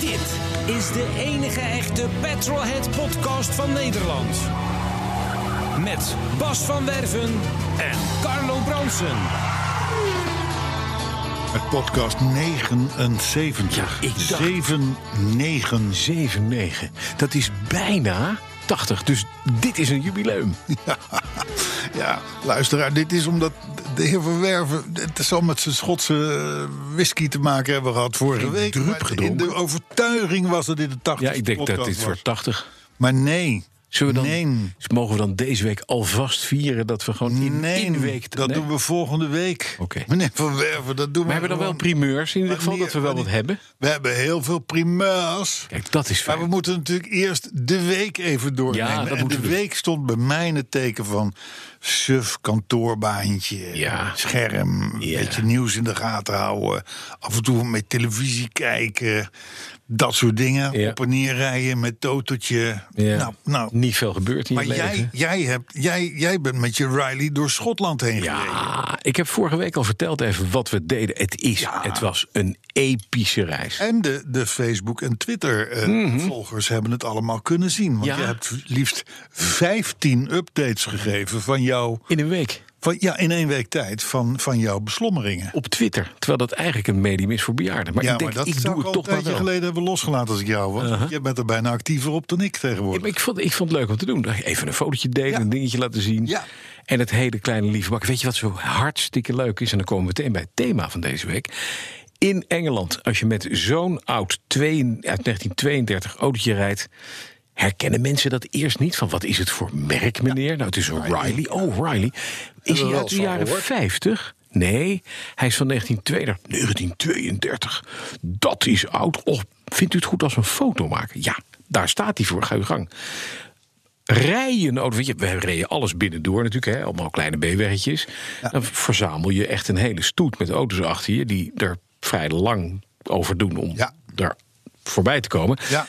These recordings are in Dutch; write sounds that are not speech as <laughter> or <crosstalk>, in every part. Dit is de enige echte Petrolhead podcast van Nederland. Met Bas van Werven en Carlo Bronsen. Het podcast 79. Ja, ik dacht- 79. 7-9. Dat is bijna 80. Dus dit is een jubileum. Ja, luisteraar, dit is omdat de heer Verwerven. Het zal met zijn Schotse eh, whisky te maken hebben gehad vorige week. drup maar In gedronken. de overtuiging was dat dit de 80 Ja, ik denk dat dit voor 80. Maar nee. Zullen we dan, Nee. dus mogen we dan deze week alvast vieren dat we gewoon in Nee, één week... dat Nee? doen we volgende week. Oké. Meneer Verwerven, dat doen we. Maar hebben we dan wel gewoon- primeurs in ieder geval, Wanneer- dat we wel wat wanneer- hebben? We hebben heel veel primeurs. Kijk, dat is Maar we fijn. moeten natuurlijk eerst de week even doornemen. Ja, dat en moeten de we doen. week stond bij mij in het teken van suf kantoorbaantje, Ja. scherm, een Ja. beetje nieuws in de gaten houden, af en toe met televisie kijken, dat soort dingen. Ja. Op en neer rijden met totootje. Ja. Nou, nou. Niet veel gebeurd in Maar je leven. jij, jij, hebt, jij, jij bent met je Riley door Schotland heen gereden. Ja, ik heb vorige week al verteld even wat we deden. Het is, het was een epische reis. En de, de Facebook- en Twitter-volgers hebben het allemaal kunnen zien. Want Mhm. Ja. je hebt liefst 15 updates gegeven van jouw In een week. Van, ja, in één week tijd van, van jouw beslommeringen. Op Twitter. Terwijl dat eigenlijk een medium is voor bejaarden. Maar ja, ik denk, maar dat ik zou doe al het toch een maar tijdje wel. Uh-huh. geleden hebben losgelaten als ik jou was. Je bent er bijna actiever op dan ik Ja, tegenwoordig. maar ik, vond, ik vond het leuk om te doen. Even een fotootje delen, Ja. een dingetje laten zien. Ja. En het hele kleine lieve bak. Weet je wat zo hartstikke leuk is? En dan komen we meteen bij het thema van deze week. In Engeland, als je met zo'n oud twee, uit 1932 autootje rijdt... herkennen mensen dat eerst niet. Van wat is het voor merk, meneer? Nou, het is een Riley. Oh, Riley. Is hij wel uit de eens van jaren gehoord. 50? Nee, hij is van 1932. 1932. Dat is oud. Och, vindt u het goed als we een foto maken? Ja, daar staat hij voor. Ga uw gang rijen auto. Weet je, we reden alles binnendoor natuurlijk, hè, allemaal kleine B-weggetjes. Dan verzamel je echt een hele stoet met auto's achter je... die er vrij lang over doen om Ja. daar voorbij te komen. Ja.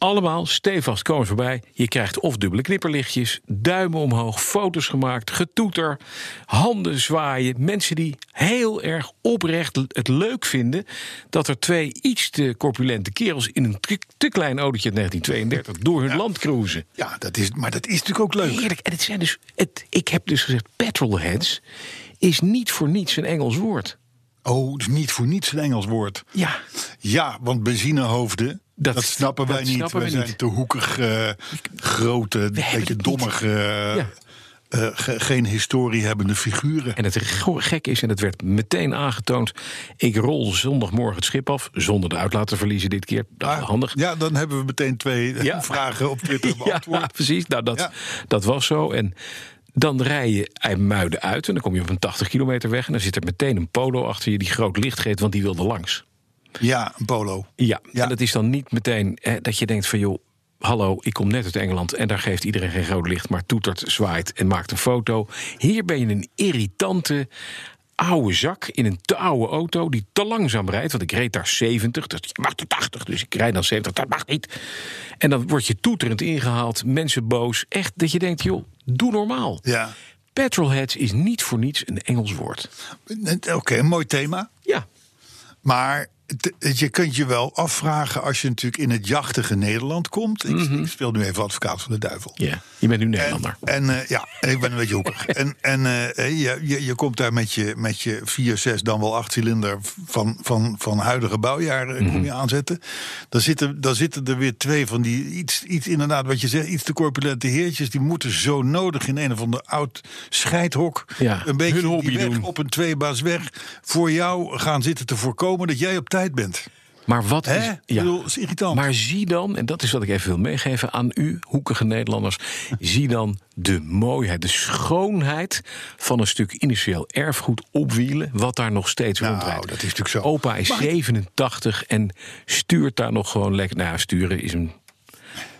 Allemaal stevast komen ze voorbij. Je krijgt of dubbele knipperlichtjes, duimen omhoog, foto's gemaakt, getoeter, handen zwaaien. Mensen die heel erg oprecht l- het leuk vinden dat er twee iets te corpulente kerels in een te- te klein autootje uit 1932 door hun land cruisen. Ja, dat is, maar dat is natuurlijk ook leuk. Heerlijk. En het zijn dus, het, ik heb dus gezegd, petrolheads is niet voor niets een Engels woord. Oh, dus niet voor niets een Engels woord. Ja. Ja, want benzinehoofden, dat, Dat- snappen wij dat niet. snappen wij we zijn niet. te hoekig, eh, grote, een hebben beetje het niet. dommige, eh, Ja. eh, ge- geen historie hebbende figuren. En het go- gek is, en het werd meteen aangetoond... ik rol zondagmorgen het schip af, zonder de uitlaat te verliezen dit keer. Dat is Ah, handig. <laughs> Ja, dan hebben we meteen twee eh, Ja. vragen op Twitter beantwoord. <laughs> Ja, precies. Nou, dat, Ja. dat was zo. En dan rij je IJmuiden uit en dan kom je op een 80 kilometer weg... en dan zit er meteen een polo achter je die groot licht geeft... want die wilde langs. ja, een polo. Ja, Ja. en dat is dan niet meteen hè, dat je denkt van joh, hallo, ik kom net uit Engeland en daar geeft iedereen geen rood licht, maar toetert, zwaait en maakt een foto. Hier ben je een irritante oude zak in een te oude auto die te langzaam rijdt, want ik reed daar 70, dat je mag er 80, dus ik rijd dan 70, dat mag niet. En dan word je toeterend ingehaald, mensen boos, echt dat je denkt joh, doe normaal. Ja. Petrolheads is niet voor niets een Engels woord. Oké, een mooi thema. Ja, Maar het- het- je kunt je wel afvragen als je natuurlijk in het jachtige Nederland komt. Ik, Mhm. ik speel nu even advocaat van de duivel. ja. je bent nu Nederlander. En, en eh, ja, en ik ben een beetje <laughs> hoekig. En, en eh, je, je, je komt daar met je, met je 4, 6, dan wel 8 cilinder van, van, van huidige bouwjaren eh, Mhm. kom je aanzetten. Dan zitten, dan zitten er weer twee van die iets, iets inderdaad wat je zegt, iets te corpulente heertjes. Die moeten zo nodig in een of ander oud scheidhok Ja, een beetje hun hobby die weg doen. op een tweebaas weg voor jou gaan zitten te voorkomen dat jij op tijd bent. Maar wat Hè? is. Ik bedoel, is irritant. Maar zie dan, en dat is wat ik even wil meegeven aan u, hoekige <laughs> Nederlanders. zie dan de mooiheid, de schoonheid van een stuk initieel erfgoed opwielen. wat daar nog steeds Nou, rondrijdt. dat is natuurlijk zo. Opa is 87 en stuurt daar nog gewoon lekker. Nou, ja, sturen is een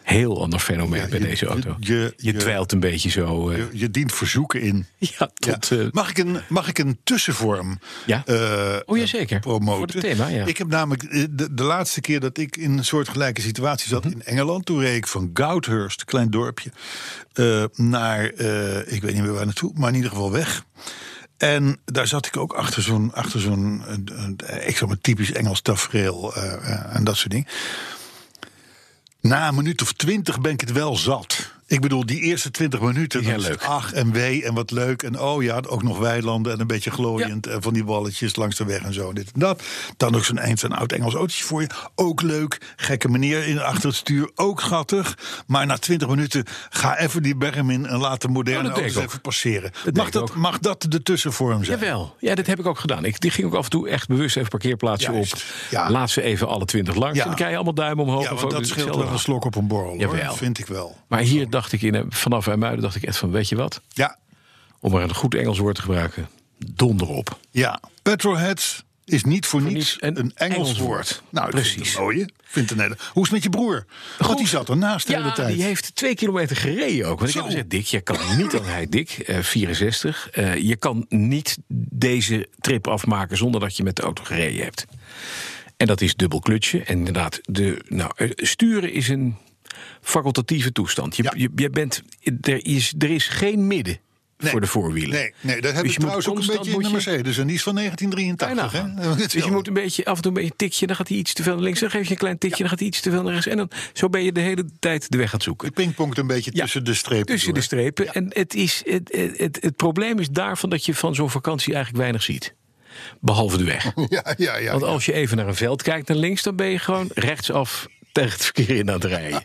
heel ander fenomeen Ja, bij je- deze je- auto. Je, je- je- dweilt een beetje zo. eh, Je, je dient verzoeken in. ja, tot. Ja. eh, mag, ik een, mag ik een tussenvorm Ja. eh, Oh, jazeker. eh, promoten? Voor het thema, ja. Ik heb namelijk eh, de, de laatste keer dat ik in een soortgelijke situatie zat Mhm. in Engeland. Toen reed ik van Goudhurst, klein dorpje, eh, naar, eh, ik weet niet meer waar naartoe, maar in ieder geval weg. En daar zat ik ook achter zo'n, achter zo'n eh, eh, ik zeg maar typisch Engels tafereel eh, eh, en dat soort dingen. Na een minuut of twintig ben ik het wel zat. Ik bedoel, die eerste twintig minuten. Ja, dan is het leuk. Ach en wee en wat leuk. En oh ja, ook nog weilanden en een beetje glooiend. En van die balletjes langs de weg en zo. en Dit en dat. Dan ook zo'n eind zo'n oud Engels autootje voor je. Ook leuk. Gekke meneer in achter het stuur. Ook gattig. Maar na twintig minuten ga even die berm in en laat de Oh, moderne dat deed auto's ik ook. even passeren. deed mag, ik dat, ook. mag dat de tussenvorm zijn? Jawel, ja, dat heb ik ook gedaan. Ik die ging ook af en toe echt bewust even parkeerplaatsje op. Juist, ja. Laat ze even alle twintig langs. Ja. En dan krijg je allemaal duimen omhoog. Ja, of want ook dat dus scheelt wel hetzelfde. een slok op een borrel. Jawel. Hoor. Vind ik wel. Maar hier dacht ik in, eh, vanaf IJmuiden dacht ik echt van, weet je wat? Ja, Om maar een goed Engels woord te gebruiken. Donder op. ja. Petrolheads is niet voor, niets niets een een Engels, Engels woord. woord. Nou, ik vind Precies. het een mooie. Ik Vind het een hele. Hoe is het met je broer? Goed. Want die zat ernaast de hele Ja, tijd. die heeft twee kilometer gereden ook. Want ik Zo. heb gezegd, Dick, je kan niet aan hij Dick, eh, 64. eh, je kan niet deze trip afmaken zonder dat je met de auto gereden hebt. En dat is dubbel klutje. En inderdaad, de, nou, eh, sturen is een facultatieve toestand. Je, Ja. je, je bent, er, is, er is geen midden Nee. voor de voorwielen. Nee, nee dat Dus je hebben moet we trouwens ook een constant beetje in de moet je- Mercedes. En die is van Kan je 1983. nagaan. Hè? Dus je moet een beetje, af en toe een beetje tikje, dan gaat hij iets te veel naar links. Dan geef je een klein tikje, dan gaat hij iets te veel naar rechts. En dan, zo ben je de hele tijd de weg aan het zoeken. Je pingpongt een beetje Ja, tussen de strepen. Tussen de door. strepen. En het, is, het, het, het, het probleem is daarvan dat je van zo'n vakantie eigenlijk weinig ziet. Behalve de <laughs> weg. Ja, ja, ja. Want ja. als je even naar een veld kijkt naar links, dan ben je gewoon rechtsaf <laughs> tegen het verkeer in aan het rijden.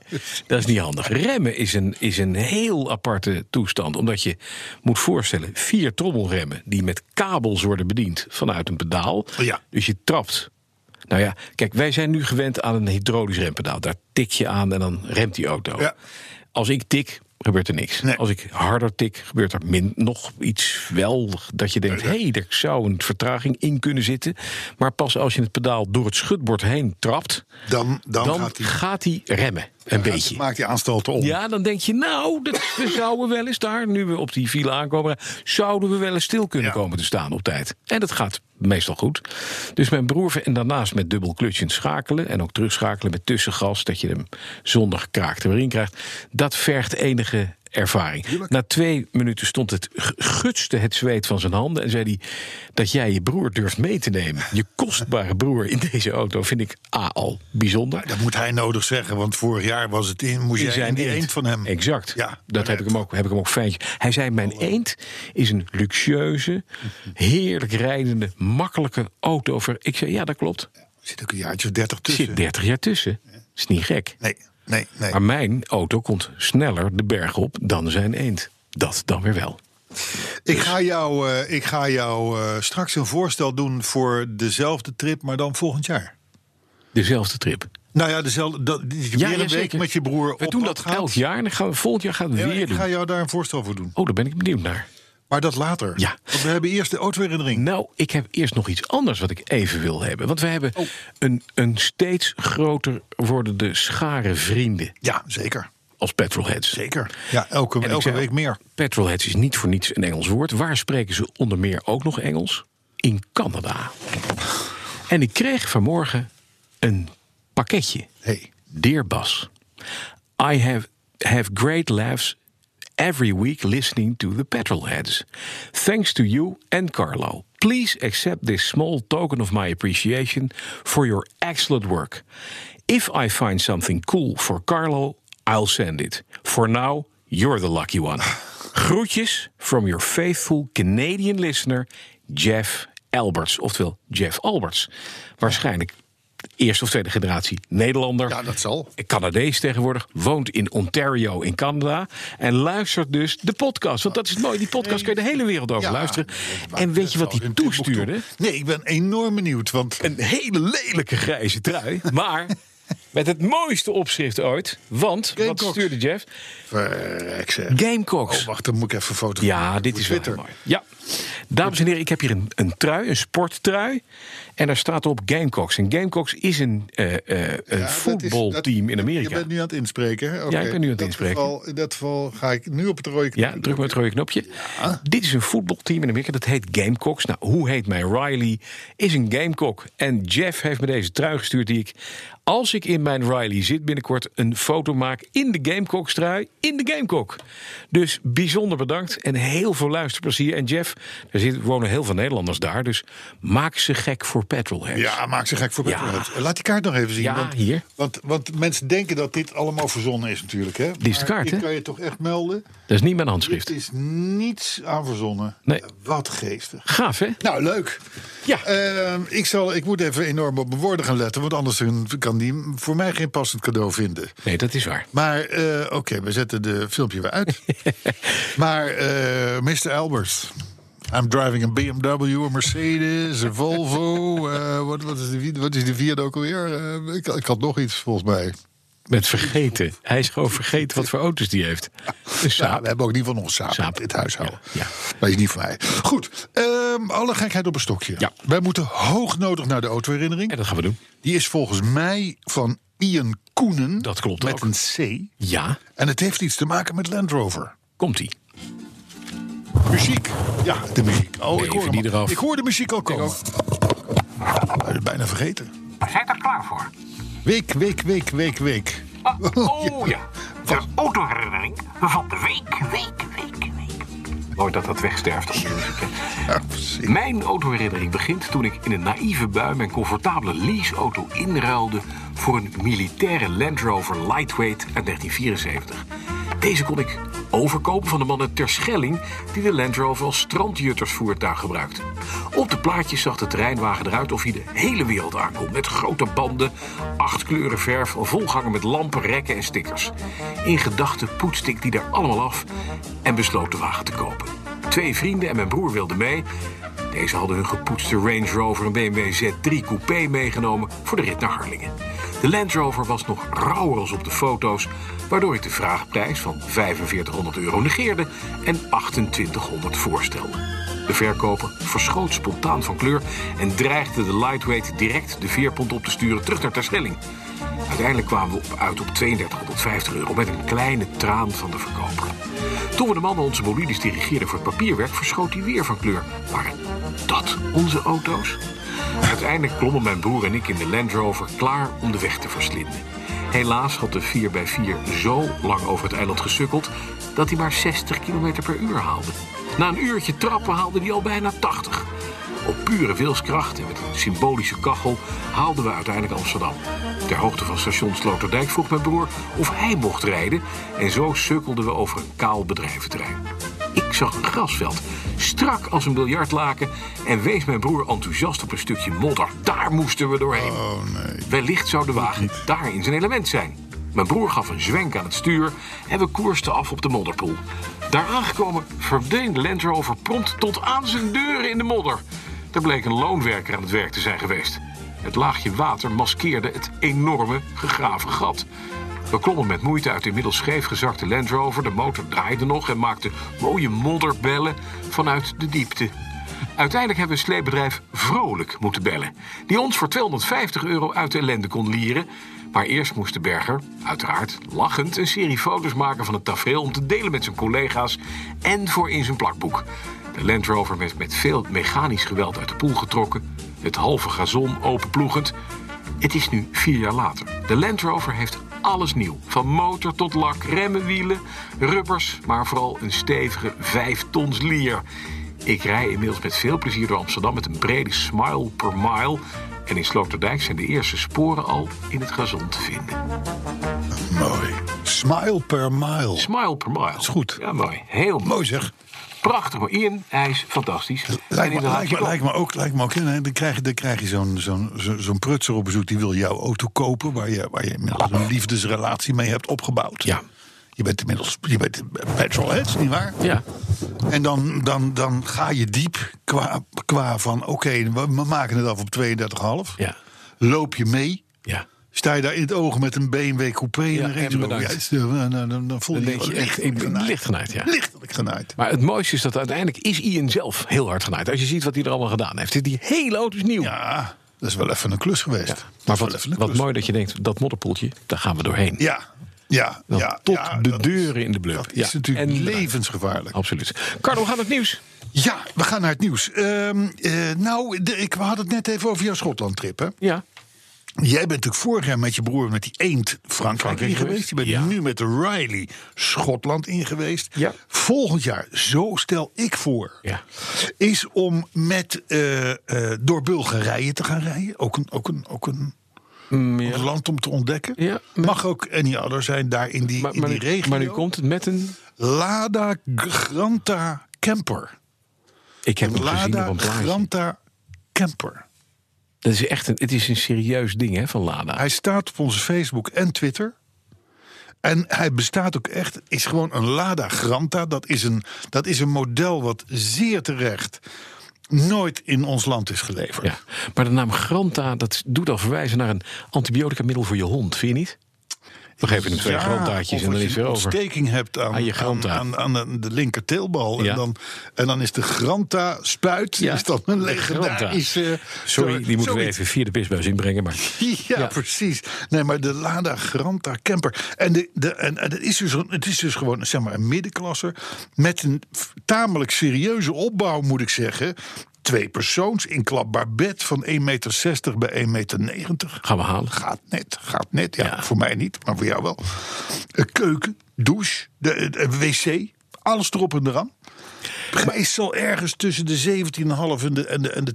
Dat is niet handig. Remmen is een, is een heel aparte toestand. Omdat je moet voorstellen, vier trommelremmen die met kabels worden bediend vanuit een pedaal. Ja. Dus je trapt. Nou ja, kijk, wij zijn nu gewend aan een hydraulisch rempedaal. Daar tik je aan en dan remt die auto. Ja. Als ik tik, gebeurt er niks. Nee. Als ik harder tik, gebeurt er min, nog iets wel dat je denkt... hé, hey, er zou een vertraging in kunnen zitten. Maar pas als je het pedaal door het schutbord heen trapt... Dan, dan, dan, gaat hij. gaat hij remmen, een beetje. Maakt die aanstalten om. Ja, dan denk je, nou, dat, we zouden wel eens daar... nu we op die file aankomen, zouden we wel eens stil kunnen Ja. komen te staan op tijd. En dat gaat meestal goed. Dus mijn broer en daarnaast met dubbel klutje schakelen... en ook terugschakelen met tussengas... dat je hem zonder gekraakt er weer in krijgt. Dat vergt enige ervaring. Na twee minuten stond het, g- gutste het zweet van zijn handen... en zei hij dat jij je broer durft mee te nemen. Je kostbare broer in deze auto vind ik A, al bijzonder. Dat moet hij nodig zeggen, want vorig jaar was het in, moest In jij in die eend. eend van hem. Exact. Ja, nou Oh. dat heb ik, hem ook, heb ik hem ook fijn. Hij zei: Mijn eend is een luxueuze, heerlijk rijdende, makkelijke auto. voor-" Ik zei: Ja, dat klopt. Er Er zit ook een jaartje of dertig tussen. zit 30 jaar tussen. Is niet gek. Nee, nee, nee. Maar mijn auto komt sneller de berg op dan zijn eend. Dat dan weer wel. Dus- Ik ga jou, eh, ik ga jou eh, straks een voorstel doen voor dezelfde trip, maar dan volgend jaar. Dezelfde trip. Nou ja, dezelfde, dat, die- weer een week zeker. met je broer We op doen pad dat gaat. elk jaar. en Dan gaan we, volgend jaar gaan we Ja, het weer ik doen. ga jou daar een voorstel voor doen. Oh, daar ben ik benieuwd naar. Maar dat later. Ja. Want we hebben eerst de autoherinnering. Nou, ik heb eerst nog iets anders wat ik even wil hebben. Want we hebben Oh. een, een steeds groter wordende schare vrienden Ja, zeker. als petrolheads. Zeker. Ja, elke, ik elke zei- week meer. Petrolheads is niet voor niets een Engels woord. Waar spreken ze onder meer ook nog Engels? In Canada. En ik kreeg vanmorgen een pakketje. Hey. Dear Bas, I have, have great laughs every week listening to the Petrolheads. Thanks to you and Carlo. Please accept this small token of my appreciation for your excellent work. If I find something cool for Carlo, I'll send it. For now, you're the lucky one. Groetjes from your faithful Canadian listener, Jeff Alberts. Oftewel, Jeff Alberts. Waarschijnlijk Eerste of tweede generatie Nederlander. Ja, dat zal. Canadees tegenwoordig. Woont in Ontario in Canada. En luistert dus de podcast. Want dat is mooi. Die podcast kun je de hele wereld over Ja. luisteren. En weet je wat hij toestuurde? Nee, ik ben enorm benieuwd. Want Een hele lelijke grijze trui. <laughs> Maar met het mooiste opschrift ooit. Want, wat Gamecocks. stuurde Jeff? Eh, Verrek, zeg. Gamecocks. Oh, wacht, dan moet ik even fotograferen. Ja, dit voor is wel Twitter. heel mooi. Ja. Dames en heren, ik heb hier een, een trui, een sporttrui. En daar staat op Gamecocks. En Gamecocks is een, eh, eh, een Ja, dat is- voetbalteam dat- in je Amerika. bent nu aan het inspreken. hè? Oké. Ja, ik ben nu aan het In dat inspreken. geval- in dat geval ga ik nu op het rode knopje Ja, druk maar het rode knopje. Dit is een voetbalteam in Amerika, dat heet Gamecocks. Nou, hoe heet mij Riley? Is een Gamecock. En Jeff heeft me deze trui gestuurd die ik, als ik in mijn Riley zit binnenkort, een foto maak in de Gamecocks trui, in de Gamecock. Dus bijzonder bedankt en heel veel luisterplezier. En Jeff, er zit, wonen heel veel Nederlanders daar, dus maak ze gek voor Petrolheads. Ja, maak ze gek voor Ja. Petrolhead. Laat die kaart nog even zien. Ja, want, hier. Want, want mensen denken dat dit allemaal verzonnen is natuurlijk. Hè? is de Maar kaart, ik hè? kan je toch echt melden. Dat is niet mijn Het handschrift. is niets aan verzonnen. Nee. Wat geestig. Gaaf, hè? Nou, leuk. Ja. Ehm, ik, zal, ik moet even enorm op mijn woorden gaan letten. Want anders kan die voor mij geen passend cadeau vinden. Nee, dat is waar. Maar eh, oké, we zetten de filmpje weer <laughs> uit. maar eh, Mr. Albers. I'm driving a BMW, a Mercedes, een Volvo. eh, wat, wat, is de, vi- wat is de vierde ook alweer? Eh, ik, ik had nog iets volgens mij. Met vergeten. Hij is gewoon vergeten wat voor auto's die heeft. Een Ja, Saab. we hebben ook niet van ons samen Saap. in dit huishouden. Ja, ja. Dat is niet van mij. Goed, ehm, alle gekheid op een stokje. Ja. Wij moeten hoognodig naar de autoherinnering. En dat gaan we doen. Die is volgens mij van Ian Koenen. Dat klopt Met ook. een C. Ja, En het heeft iets te maken met Land Rover. komt-ie. Muziek. Ja, de muziek. Oh, ik, Even hoor hem die al. eraf. ik hoor de muziek al komen. Ik ben bijna vergeten. Zijn er klaar voor? Week, week, week, week, week. Ah, oh ja, de autoherinnering van de week, week, week, week. Nooit dat dat wegsterft. dat muziek, hè. Ja, precies. Mijn autoherinnering begint toen ik in een naïeve bui mijn comfortabele leaseauto inruilde voor een militaire Land Rover Lightweight uit 1974. Deze kon ik overkopen van de mannen ter Schelling die de Land Rover als strandjuttersvoertuig gebruikten. Op de plaatjes zag de terreinwagen eruit of hij de hele wereld aankomt met grote banden, acht kleuren verf, volgangen met lampen, rekken en stickers. In gedachten poetste ik die daar allemaal af en besloot de wagen te kopen. Twee vrienden en mijn broer wilden mee. Deze hadden hun gepoetste Range Rover en BMW Z3 Coupé meegenomen voor de rit naar Harlingen. De Land Rover was nog rauwer als op de foto's, waardoor ik de vraagprijs van 4500 euro negeerde en 2800 voorstelde. De verkoper verschoot spontaan van kleur en dreigde de lightweight direct de veerpont op te sturen terug naar Terschelling. Uiteindelijk kwamen we op uit op 3250 euro met een kleine traan van de verkoper. Toen we de mannen onze bolides dirigeerden voor het papierwerk, verschoot hij weer van kleur. Waren dat onze auto's? Uiteindelijk klommen mijn broer en ik in de Land Rover klaar om de weg te verslinden. Helaas had de 4x4 zo lang over het eiland gesukkeld dat hij maar 60 km per uur haalde. Na een uurtje trappen haalde hij al bijna 80. Op pure wilskracht en met een symbolische kachel haalden we uiteindelijk Amsterdam. Ter hoogte van station Sloterdijk vroeg mijn broer of hij mocht rijden en zo sukkelden we over een kaal bedrijventerrein. Ik zag een grasveld, strak als een biljartlaken, en wees mijn broer enthousiast op een stukje modder. Daar moesten we doorheen. Wellicht zou de wagen daar in zijn element zijn. Mijn broer gaf een zwenk aan het stuur en we koersten af op de modderpoel. Daar aangekomen verdween de Land Rover prompt tot aan zijn deuren in de modder. Er bleek een loonwerker aan het werk te zijn geweest. Het laagje water maskeerde het enorme gegraven gat. We klommen met moeite uit de inmiddels scheefgezakte Land Rover. De motor draaide nog en maakte mooie modderbellen vanuit de diepte. Uiteindelijk hebben we sleepbedrijf Vrolijk moeten bellen. Die ons voor 250 euro uit de ellende kon lieren. Maar eerst moest de berger, uiteraard lachend, een serie foto's maken van het tafereel... om te delen met zijn collega's en voor in zijn plakboek. De Land Rover werd met veel mechanisch geweld uit de poel getrokken. Het halve gazon openploegend. Het is nu vier jaar later. De Land Rover heeft alles nieuw. Van motor tot lak, remmen, wielen, rubbers, maar vooral een stevige 5 tons lier. Ik rij inmiddels met veel plezier door Amsterdam met een brede smile per mile. En in Sloterdijk zijn de eerste sporen al in het gazon te vinden. Mooi. Smile per mile. Smile per mile. goed. Ja, mooi. Heel mooi. Mooi zeg. prachtig. Maar Ian, hij is fantastisch. En Lijkt me, inderdaad, lijkt, je me, ook- lijkt me ook, lijkt me ook. En dan krijg je, dan krijg je zo'n, zo'n, zo- zo'n prutser op bezoek. Die wil jouw auto kopen. Waar je, waar je inmiddels een liefdesrelatie mee hebt opgebouwd. Ja. Je bent inmiddels je bent petrolheads, nietwaar? Ja. En dan, dan, dan ga je diep qua, qua van... Oké, we we maken het af op 32,5. Ja. Loop je mee. Ja. Sta je daar in het oog met een BMW coupé Ja, en een Range en Rover? bedankt. Ja, is- eh, dan, dan, nou, dan, dan voel Dan je denk je je echt, ik ben genaaid. licht genaaid, ja. Lichtelijk genaaid. Maar het mooiste is dat uiteindelijk is Ian zelf heel hard genaaid. Als je ziet wat hij er allemaal gedaan heeft. Die hele auto is nieuw. Ja, Ah, dat is wel even een klus geweest. Ja. Dat is Maar wel wat, even een wat klus. mooi dat je denkt, dat modderpoeltje, daar gaan we doorheen. Ja, ja, Dan ja. tot ja, de dat deuren in de is- blub. Dat is Ja, natuurlijk en bedankt. levensgevaarlijk. Absoluut. Carlo, we gaan het nieuws. Ja, we gaan naar het nieuws. Ehm, eh, nou, de, ik, we hadden het net even over jouw Schotland-trip, hè? Ja. Jij bent natuurlijk vorig jaar met je broer met die eend Frankrijk in geweest. Je bent Ja. nu met de Riley Schotland in geweest. Ja. Volgend jaar, zo stel ik voor, Ja. is om met, eh, eh, door Bulgarije te gaan rijden. Ook een, ook een, ook een, een land om te ontdekken. Mm, Ja, maar- Mag ook any other zijn daar in die, Maar, in maar, die nu, regio. maar nu komt het met een... Lada Granta Camper. Ik heb hem gezien op Lada een plaatje. Granta Camper. Dat is echt een, het is een serieus ding hè, van Lada. Hij staat op onze Facebook en Twitter. En hij bestaat ook echt, is gewoon een Lada Granta. Dat is een, dat is een model wat zeer terecht nooit in ons land is geleverd. Ja. Maar de naam Granta, dat doet al verwijzen naar een antibiotica-middel voor je hond, vind je niet? We geven hem twee Ja, grantaatjes of en dan als is het je weer een over. ontsteking hebt aan, Aan je aan, granta. aan, aan de linker teelbal. Ja. En, dan, en dan is de granta spuit. Ja, Is dat een de Granta. legendarische... Sorry, die moeten we zoiets. even via de pisbuis inbrengen. Maar Ja, Ja. precies. Nee, maar de Lada Granta Camper. En, de, de, en, en het, is dus, een- het is dus gewoon zeg maar, een middenklasser. Met een f- tamelijk serieuze opbouw, moet ik zeggen. Twee persoons, inklapbaar bed van 1,60 meter bij 1,90 meter. gaan we halen. Gaat net, gaat net. Ja, Ja. voor mij niet, maar voor jou wel. Een keuken, douche, de, de- de wc, alles erop en eraan. Meestal ergens tussen de 17.500 en de, en de, en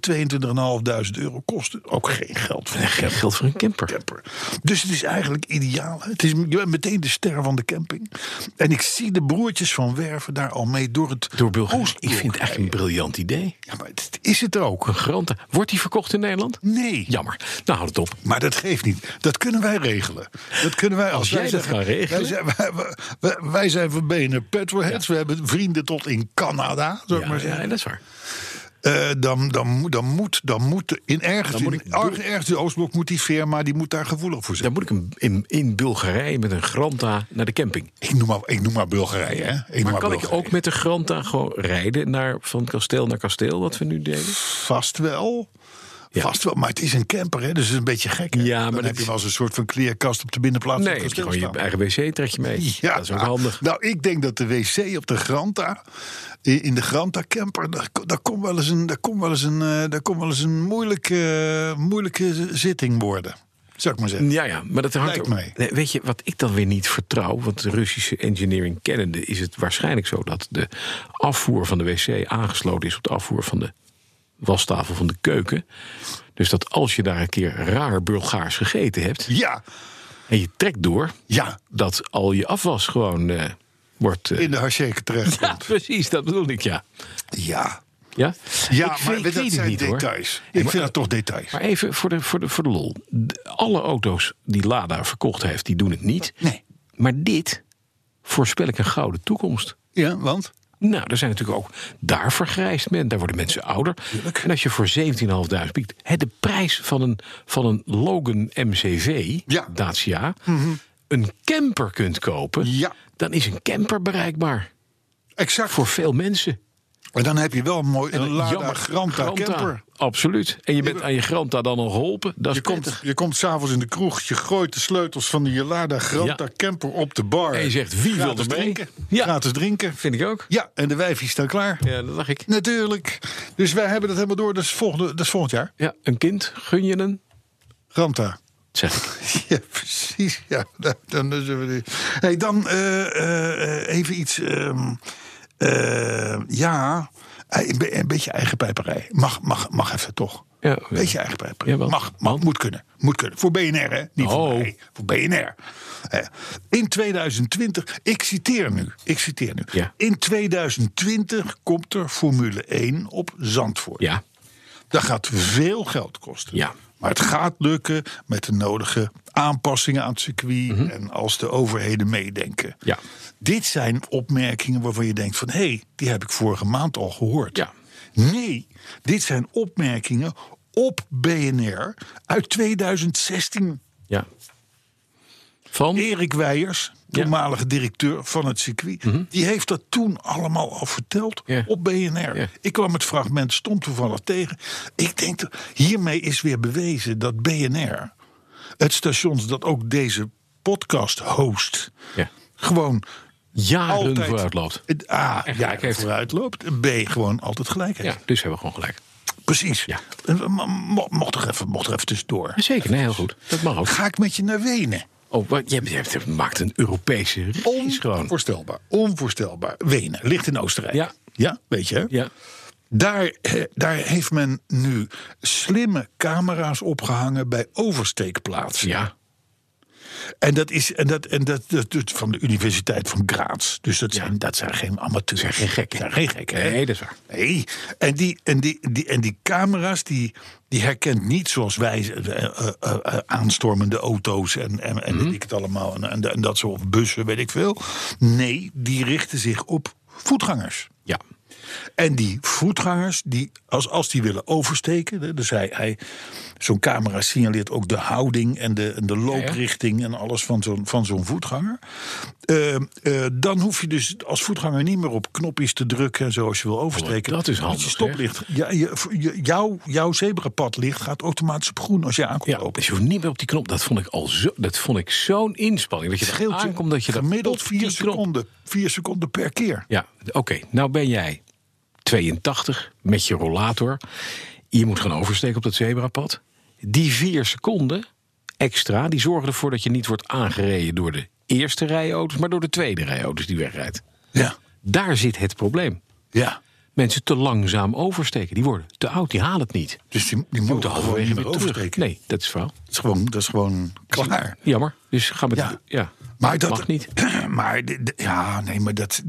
de 22.500 euro kosten. Ook geen geld voor een Geen geld voor een camper. camper. Dus het is eigenlijk ideaal. hè. Het is, je bent meteen de ster van de camping. En ik zie de broertjes van Werven daar al mee door het Door Bulgarije. Oostblok Oh, Ik vind het echt een rijden. briljant idee. Ja, maar het is het ook. Een granta. Wordt die verkocht in Nederland? Nee. Jammer. Nou, houd het op. Maar dat geeft niet. Dat kunnen wij regelen. Dat kunnen wij als, Als wij jij dat gaat regelen? Wij zijn, wij, wij- wij- wij zijn van benen petrolheads. We hebben vrienden tot in Canada, zou ik Ja, maar ja, zeggen. dat is waar. Eh, dan, dan, moet- dan moet, dan moet er in ergens, Dan moet in, ik- ergens, ergens in Oostblok moet die firma die moet daar gevoelig voor zijn. Dan moet ik hem in, in Bulgarije met een granta naar de camping. Ik noem maar, ik noem maar Bulgarije. Hè? Ik noem Maar kan ik Bulgarije. ook met de granta gewoon rijden naar, van kasteel naar kasteel, wat we nu deden? Vast wel. Ja. Vast wel, maar het is een camper, hè? dus het is een beetje gek. Hè? Ja, maar Dan dat heb je is- wel eens een soort van kleerkast op de binnenplaats. Nee, van heb het je kasteel gewoon je staan. eigen wc trek je mee. Ja, dat is ook handig. Nou, ik denk dat de wc op de Granta, i- in de Granta camper, daar, ko- daar komt wel eens een, daar komt wel eens een, eh, daar komt wel eens een moeilijke, moeilijke zitting worden. Zou ik maar zeggen. Ja, ja, maar dat hangt Lijkt ook- mij. Nee, Weet je wat ik dan weer niet vertrouw? Want de Russische engineering kennende is het waarschijnlijk zo dat de afvoer van de wc aangesloten is op de afvoer van de wastafel van de keuken. Dus dat als je daar een keer raar Bulgaars gegeten hebt Ja, en je trekt door, ja. dat al je afwas gewoon eh, wordt. eh, In de Harsjeke terecht. ja, <laughs> precies, dat bedoel ik, ja. Ja. Ja, Ja, Ik- maar ik dat weet het zijn niet, hoor. details. Nee, Ik maar- vind dat toch details. Maar even voor de, voor de, voor de lol. De- alle auto's die Lada verkocht heeft, die doen het niet. Nee. Maar dit voorspel ik een gouden toekomst. Ja, want? Nou, er zijn natuurlijk ook... Daar vergrijst men, daar worden mensen ouder. En als je voor 17.500 piekt... hè, de prijs van een, van een Logan MCV, Ja. Mhm. Dacia... een camper kunt kopen... Ja. dan is een camper bereikbaar Exact. voor veel mensen. En dan heb je wel een mooi een Lada Jammer, Granta, camper. Absoluut. En je bent aan je Granta dan al geholpen. Dat is Je komt, prettig. je komt s'avonds in de kroeg, je gooit de sleutels van die Lada Granta Ja. camper op de bar. En je zegt, wie wil Gratis er mee? drinken. Ja. Gratis drinken. Vind ik ook. Ja, en de wijfjes staan klaar. Ja, dat dacht ik. Natuurlijk. Dus wij hebben dat helemaal door. Dat is, volgende, dat is volgend jaar. Ja, een kind, gun je een? Ranta. Zeg ik. <laughs> Ja, precies. Ja, dan, dan, dan, zullen we die- hey, dan eh, eh, eh, even iets. ehm, eh, ja, eh, een be- een beetje eigen pijperij. Mag, mag, mag even toch? Ja, Weet je eigenlijk bij. Jawel. Mag, mag moet kunnen. Moet kunnen. Voor BNR, hè? Niet voor Oh. mij. Voor BNR. Hè. In 2020, ik citeer nu. Ik citeer nu. Ja. In 2020 komt er Formule 1 op Zandvoort. Ja, Dat gaat veel geld kosten. Ja. Maar het gaat lukken met de nodige aanpassingen aan het circuit. En als de overheden meedenken. Mhm. Ja. Dit zijn opmerkingen waarvan je denkt van... hé, hey, die heb ik vorige maand al gehoord. Ja. Nee, dit zijn opmerkingen op BNR uit 2016. ja. Van? Erik Weijers, toenmalige directeur van het circuit... die heeft dat toen allemaal al verteld Mhm. Ja. op BNR. Ja. Ik kwam het fragment stom toevallig tegen. Ik denk, dat- hiermee is weer bewezen dat BNR... het station dat ook deze podcast host... Ja. gewoon Jaren altijd... vooruit loopt. Het A, En ja, gelijk heeft. vooruit loopt. B, gewoon altijd gelijk heeft. Ja, dus hebben we gewoon gelijk. Precies. Ja. En, eh, mo- mo- Mocht er even, mocht er even tussendoor. Zeker, nee, heel goed. Dat mag ook. Ga ik met je naar Wenen? Oh, wat- je, hebt- je maakt een Europese reis gewoon. Onvoorstelbaar. Onvoorstelbaar. Wenen ligt in Oostenrijk. Ja. Ja, weet je. hè? Ja, Daar, eh, daar heeft men nu slimme camera's opgehangen bij oversteekplaatsen. ja, En dat is en dat, en dat, dat, dat van de Universiteit van Graz. Dus dat Ja. zijn, dat zijn geen amateurs. Zijn geen gekken. Zijn geen gekken, hè? Nee, dat is waar. Nee. En die, en die, die, en die camera's, die, die herkent niet zoals wij eh, eh, eh, eh, aanstormende auto's en, en, Mhm. en weet ik het allemaal. En, en, en dat soort bussen, weet ik veel. Nee, die richten zich op voetgangers. ja. En die voetgangers, die, als, als die willen oversteken. hè, Dus hij, hij, zo'n camera signaleert ook de houding en de, en de looprichting en alles van zo'n, van zo'n voetganger. Eh, eh, dan hoef je dus als voetganger niet meer op knopjes te drukken en zo als je wil oversteken. Oh, dat is handig, Je stoplicht, ja, je, je- jouw, jouw zebrapad gaat automatisch op groen als je aankomt ja. lopen. Dus je hoeft niet meer op die knop. Dat vond ik al zo. Dat vond ik zo'n inspanning. Dat je Het er scheelt je aankomt dat je daar gemiddeld op die 4 knop- seconden, vier seconden per keer. Ja, oké. Nou ben jij 82 met je rollator. Je moet gaan oversteken op dat zebrapad. Die vier seconden extra, die zorgen ervoor dat je niet wordt aangereden door de eerste rij auto's, maar door de tweede rij auto's die wegrijdt. Ja, Daar zit het probleem. ja. Mensen te langzaam oversteken. Die worden te oud, die halen het niet. Dus die, die moeten Moeten gewoon halverwege niet weer meer terug. oversteken. Nee, dat is fout. Dat is gewoon, dat is gewoon klaar. Jammer. Dus ga met. Ja. Ja. Maar dat mag niet. <clears throat> Maar de- de- ja, nee, maar dat.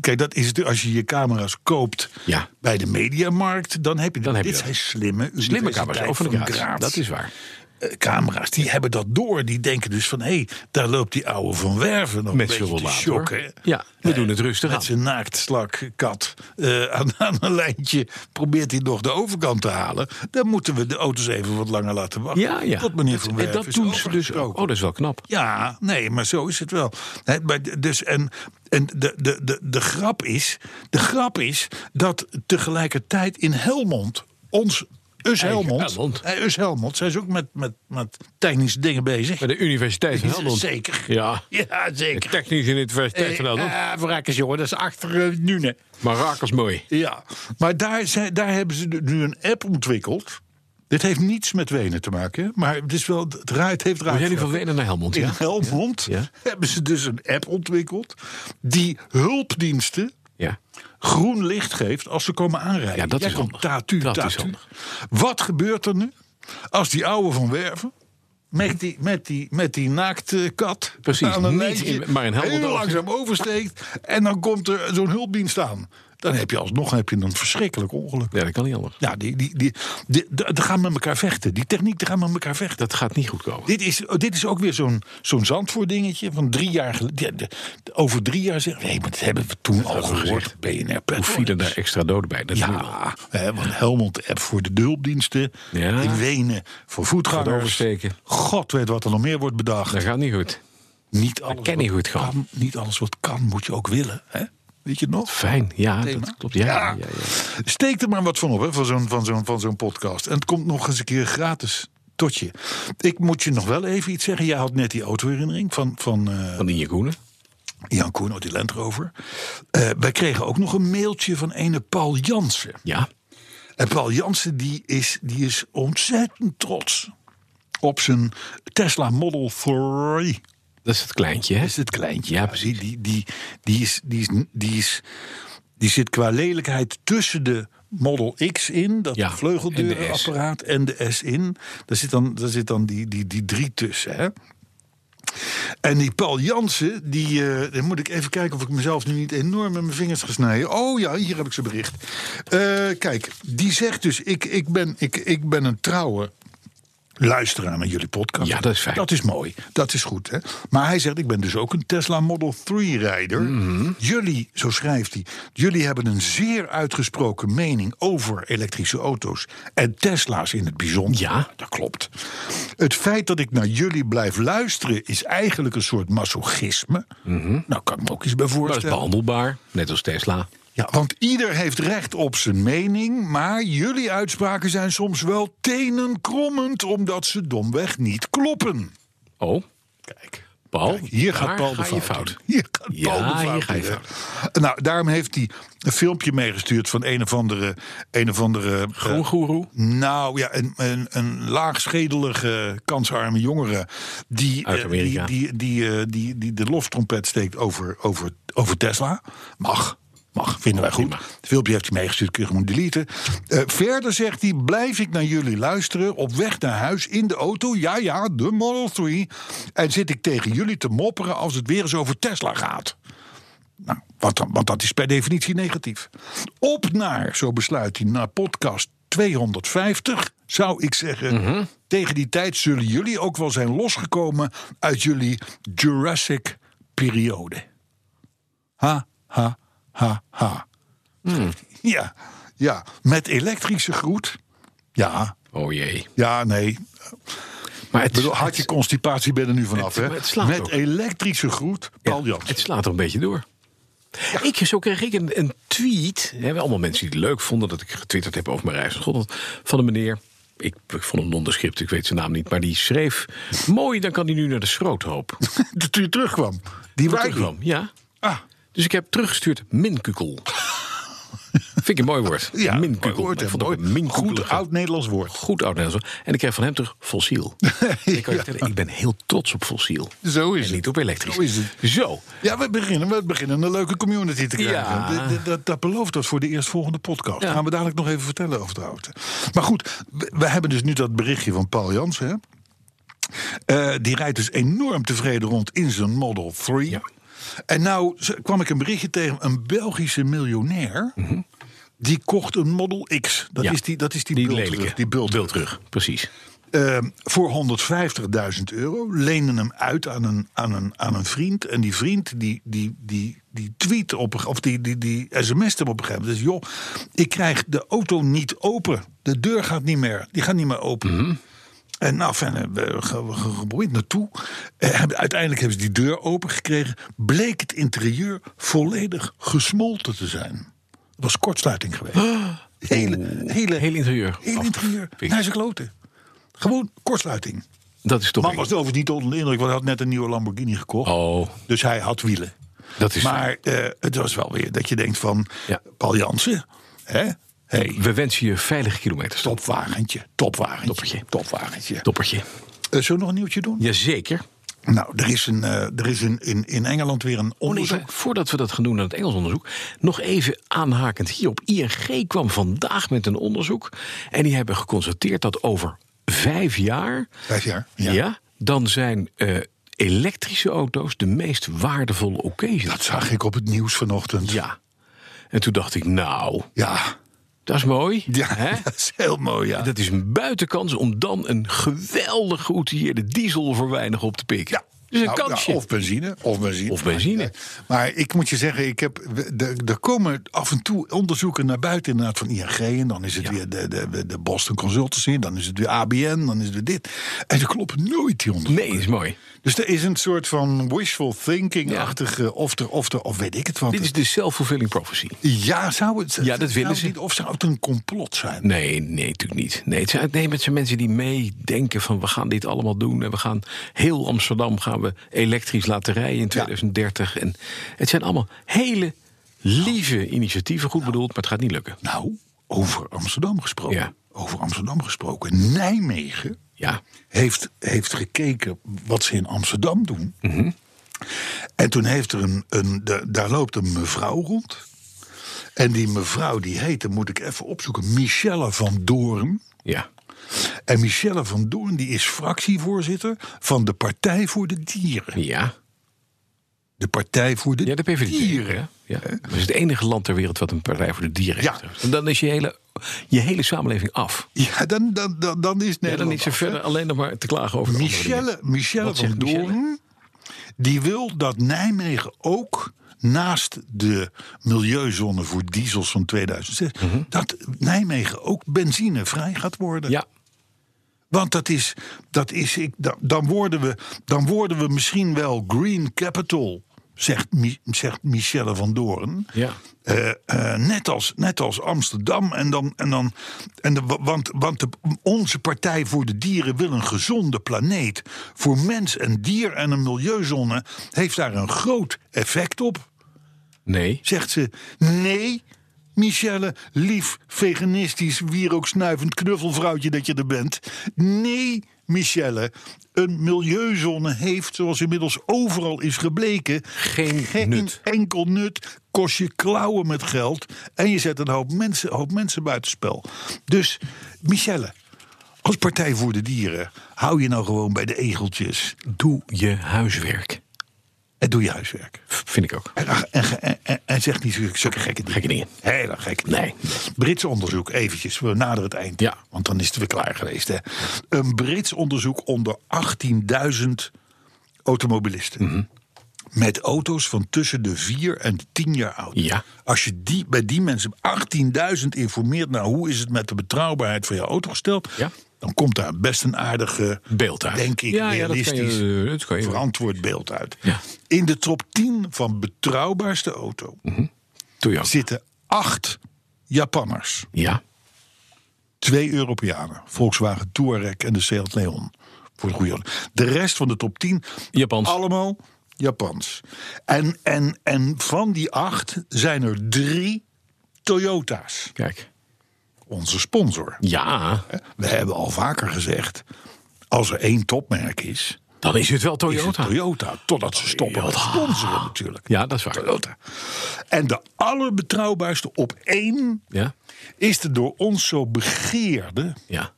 Kijk, dat is het. Als je je camera's koopt Ja. bij de mediamarkt, dan heb je. Dan heb je dit dat. zijn slimme, Slimme Universiteit kamers over de Graz. kaart. Dat is waar. Eh, camera's, die hebben dat door. Die denken dus van, hé, hey, daar loopt die ouwe van Werven nog Met een zijn beetje te rollator. shocken. Ja, we Eh, doen het rustig aan. Met zijn naaktslak kat eh, aan, aan een lijntje probeert hij nog de overkant te halen. Dan moeten we de auto's even wat langer laten wachten. Ja, ja. Tot meneer van En Werven dat is doen ze dus ook. overgesproken. Oh, dat is wel knap. Ja, nee, maar zo is het wel. Hè, maar d- dus, en en de, de, de, de, grap is, de grap is dat tegelijkertijd in Helmond, ons Us Eigen Helmond, Helmond. Hè, Us Helmond, zijn ze ook met, met, met technische dingen bezig. Bij de Universiteit van Helmond. Zeker. Ja. Ja, zeker. Technische Universiteit van Helmond. Eh, eh, verrekkers, jongen, dat is achter eh, Nune. Maar rakers mooi. Ja, maar daar, zijn, daar hebben ze nu een app ontwikkeld. Dit heeft niets met Wenen te maken, hè, maar het, is wel, het raait, heeft raad. We zijn nu van Wenen naar Helmond, In ja? Helmond Ja. hebben ze dus een app ontwikkeld die hulpdiensten Ja. groen licht geeft als ze komen aanrijden. Ja, dat Jij is komt handig. tatu, Dat is tatu. handig. Wat gebeurt er nu als die ouwe van Werven met die, met die, met die naakte kat Precies, aan een niet lijntje in- maar in Helmond heel over. langzaam oversteekt en dan komt er zo'n hulpdienst aan. Dan heb je alsnog heb je een verschrikkelijk ongeluk. Ja, dat kan niet anders. Ja, die, die, die, die, die- die gaan met elkaar vechten. Die techniek, die gaan met elkaar vechten. Dat gaat niet goed komen. Dit is, oh, dit is ook weer zo'n zo'n Zandvoort-dingetje van drie jaar geleden. Ja, de- Over drie jaar zeggen nee, maar dat hebben we toen al hebben we gehoord. BNR Hoe Petrol. vielen daar extra doden bij? Dat is nu al. Ja, hè, want Helmond-app voor de hulpdiensten. Ja. In Wenen voor Gaat voetgangers. oversteken. God weet wat er nog meer wordt bedacht. Dat gaat niet goed. niet, alles ken wat ik hoe het gaat. kan, niet alles wat kan moet je ook willen. Hè? Weet je het nog? Fijn, ja, Thema. dat klopt. Ja, ja. ja, ja. Steek er maar wat van op hè, van zo'n van zo'n- van zo'n podcast. En het komt nog eens een keer gratis tot je. Ik moet je nog wel even iets zeggen. Jij had net die autoherinnering van, van eh, Van Inje Koenen. Jan Koen uit die Land Rover. Eh, wij kregen ook nog een mailtje van ene Paul Jansen. Ja. En Paul Jansen die is, die is ontzettend trots op zijn Tesla Model 3. Dat is het kleintje, hè? Dat is het kleintje. Ja, precies. Die, die, die, die, is, die, is, die, is, die zit qua lelijkheid tussen de Model X in, dat Ja, vleugeldeurenapparaat, en de S in. Daar zit dan, daar zit dan die, die, die drie tussen. Hè? En die Paul Jansen, die, eh, dan moet ik even kijken of ik mezelf nu niet enorm met mijn vingers gesneden. Oh ja, hier heb ik zijn bericht. Eh, kijk, die zegt dus: ik, ik, ben, ik, ik ben een trouwe luisteraar naar jullie podcast. Ja, dat is fijn. Dat is mooi. Dat is goed. Hè? Maar hij zegt: Ik ben dus ook een Tesla Model 3-rijder. Mhm. Jullie, zo schrijft hij, jullie hebben een zeer uitgesproken mening over elektrische auto's en Tesla's in het bijzonder. Ja. dat klopt. Het feit dat ik naar jullie blijf luisteren is eigenlijk een soort masochisme. Nou, kan ik me ook iets bij Maar Mhm. dat is voorstellen. behandelbaar, net als Tesla. Ja, want ieder heeft recht op zijn mening, maar jullie uitspraken zijn soms wel tenenkrommend omdat ze domweg niet kloppen. Oh, Kijk. Paul, Oh, Hier gaat daar Paul de ga je fout. fout. in. Hier gaat Ja, Paul de hier fout. ga je in, hè. Nou, daarom heeft hij een filmpje meegestuurd van een of andere. Een of andere eh, Groengoeroe? nou ja, een, een, een laagschedelige, kansarme jongere. Die, Uit eh, Amerika. die, die, die, eh, die, die de loftrompet steekt over, over, over Tesla. Mag. Mag, vinden wij goed. Prima. Het filmpje heeft hij meegestuurd, kun je gewoon deleten. Eh, verder zegt hij, blijf ik naar jullie luisteren... op weg naar huis in de auto, ja ja, de Model 3... en zit ik tegen jullie te mopperen als het weer eens over Tesla gaat. Nou, want, dan- want dat is per definitie negatief. Op naar, zo besluit hij, naar podcast 250, zou ik zeggen. Mhm. Tegen die tijd zullen jullie ook wel zijn losgekomen uit jullie Jurassic periode. Ha, ha, ha, ha. Hmm. <laughs> Ja, ja, met elektrische groet. Ja, Oh jee. ja, nee. Maar het, Ik bedoel, had je het, constipatie, ben er nu vanaf. het- hè? het slaat Met ook. elektrische groet, Paul ja, Jans. <laughs> het slaat er een beetje door. Ik, zo kreeg ik een, een tweet. Hè, wel allemaal mensen die het leuk vonden dat ik getwitterd heb over mijn reis naar Schotland. Van een meneer. Ik, ik vond hem nondescript, ik weet zijn naam niet. Maar die schreef: Mooi, dan kan hij nu naar de schroothoop. Dat u terugkwam. Die Toen waar terugkwam, ja. Ah, Dus ik heb teruggestuurd minkukkel. Vind ik een mooi woord. ja, minkukkel. mooi woord, Ik hè, vond het mooi. een minkukkel. Goed oud-Nederlands woord. <laughs> goed oud Nederlands. En ik kreeg van hem terug <laughs> fossiel. ik kan je vertellen, ik ben heel trots op fossiel. Zo is en het. niet op elektrisch. Zo is het. Zo. Ja, we beginnen, we beginnen een leuke community te krijgen. Ja. D- d- Dat, dat, belooft dat voor de eerstvolgende podcast. Ja. Gaan we dadelijk nog even vertellen over trouwens. Maar goed, we, we hebben dus nu dat berichtje van Paul Jansen. hè. Eh, die rijdt dus enorm tevreden rond in zijn Model 3. Ja. En nou z- kwam ik een berichtje tegen een Belgische miljonair. Die kocht een Model X. Dat Mhm. Ja. is die, dat is die, Die bultrug, lelijke. Die bultrug. Bultrug, precies. Eh, voor 150.000 euro. Lenen hem uit aan een, aan een, aan een vriend. En die vriend die, die, die, die tweet op, een ge- of die, die, die sms't hem op een gegeven moment. Dus joh, ik krijg de auto niet open. De deur gaat niet meer. Die gaat niet meer open. En nou, fijn, eh, we hebben ge- ge- geprobeerd naartoe. Eh, hebben- uiteindelijk hebben ze die deur open gekregen. Bleek het interieur volledig gesmolten te zijn. Het was kortsluiting geweest. <gasps> Hele, hele, Heel interieur. Heel interieur. Afgepikt. Naar zijn kloten. Gewoon kortsluiting. Dat is toch... Man was overigens niet onder de indruk, want hij had net een nieuwe Lamborghini gekocht. Oh, Dus hij had wielen. dat is... Maar eh, het was wel weer dat je denkt van, Ja. Paul Jansen, hè? Hey, We wensen je veilige kilometers. topwagentje, topwagentje, Toppertje. topwagentje. Toppertje. Eh, zullen we nog een nieuwtje doen? Jazeker. Nou, er is, een, eh, er is een, in, in Engeland weer een Oh nee, onderzoek. maar voordat we dat gaan doen naar het Engels onderzoek, nog even aanhakend hierop. ING kwam vandaag met een onderzoek en die hebben geconstateerd dat over vijf jaar, Vijf jaar, ja. ja. dan zijn eh, elektrische auto's de meest waardevolle occasion. Dat zag ik op het nieuws vanochtend. Ja. En toen dacht ik, nou, Ja, dat is mooi. Ja, <laughs> hè? dat is heel mooi, ja. Dat is een buitenkans om dan een geweldig geoutilleerde diesel voor weinig op te pikken. Ja. Dus een Nou, kansje. ja, of benzine. Of benzine. Of benzine. Maar ik moet je zeggen, ik heb, we- er, er komen af en toe onderzoeken naar buiten inderdaad van ING. En dan is het Ja. weer de, de, de Boston Consultancy. Dan is het weer ABN. Dan is het weer dit. En ze kloppen nooit die onderzoeken. Nee, dat is mooi. Dus er is een soort van wishful thinking-achtige... Of, er, of, er, of weet ik het wat. Dit is de self-fulfilling prophecy. Ja, zou het... Ja, dat zou willen het ze. Niet, of zou het een complot zijn? Nee, nee, natuurlijk niet. Nee, het zijn, nee, het zijn mensen die meedenken van we gaan dit allemaal doen. En we gaan heel Amsterdam gaan we elektrisch laten rijden in 2030. En het zijn allemaal hele lieve initiatieven, goed bedoeld, maar het gaat niet lukken. Nou, over Amsterdam gesproken. Ja. Over Amsterdam gesproken. Nijmegen... Ja, heeft, heeft gekeken wat ze in Amsterdam doen. Mhm. En toen heeft er een. een de- daar loopt een mevrouw rond. En die mevrouw die heette, moet ik even opzoeken, Michelle van Doorn. Ja. En Michelle van Doorn die is fractievoorzitter van de Partij voor de Dieren. Ja. De Partij voor de, Ja, de PVV. Dieren. Ja. Ja. Dat is het enige land ter wereld wat een partij voor de dieren Ja. heeft. En dan is je hele, je hele samenleving af. Ja, dan, dan, dan, dan is Ja, dan Nederland niet zo af, hè? verder alleen nog maar te klagen over de andere dingen. Michelle, Michelle Wat van zegt Michelle? Doorn, die wil dat Nijmegen ook naast de milieuzone voor diesels van 2006, Mhm. dat Nijmegen ook benzinevrij gaat worden. Ja, Want dat is, dat is ik, da- dan, worden we, dan worden we misschien wel green capital, zegt, Mi- zegt Michelle van Doorn. Ja. Eh, eh, net, als, net als Amsterdam. En dan, en dan, en de, want want de, onze Partij voor de Dieren wil een gezonde planeet. Voor mens en dier en een milieuzone heeft daar een groot effect op. nee. Zegt ze, nee, Michelle, lief, veganistisch, wierooksnuivend knuffelvrouwtje dat je er bent. Nee, Michelle, een milieuzone heeft, zoals inmiddels overal is gebleken... Geen nut. enkel nut, kost je klauwen met geld... en je zet een hoop mensen, hoop mensen buitenspel. Dus, Michelle, als Partij voor de Dieren... hou je nou gewoon bij de egeltjes Doe je huiswerk. en doe je huiswerk. Vind ik ook. En, en, en, en, en zeg niet zulke, zulke gekke dingen. Gekke dingen. Hele gekke dingen. Nee. Brits onderzoek, eventjes, we naderen het eind. Ja. Want dan is het weer klaar geweest. Hè. Een Brits onderzoek onder 18.000 automobilisten. Mhm. Met auto's van tussen de 4 en de 10 jaar oud. Ja. Als je die, bij die mensen 18.000 informeert... nou, hoe is het met de betrouwbaarheid van je auto gesteld... Ja. dan komt daar best een aardige... Beeld uit. Denk ik, Ja, ja, dat kan je- eh, realistisch, dat kan je- verantwoord beeld uit. Ja. In de top 10 van betrouwbaarste auto Toyota. zitten acht Japanners. Ja. Twee Europeanen. Volkswagen Touareg en de Seat Leon. Voor de goede orde. De rest van de top 10. Japans. Allemaal Japans. En, en, en van die acht zijn er drie Toyota's. Kijk. Onze sponsor. Ja, We hebben al vaker gezegd. Als er één topmerk is, dan is het wel is het Toyota. Toyota. Totdat ze stoppen met Toyota. sponsoren natuurlijk. Ja, dat is waar. Toyota. En de allerbetrouwbaarste op één Ja. is de door ons zo begeerde, Ja.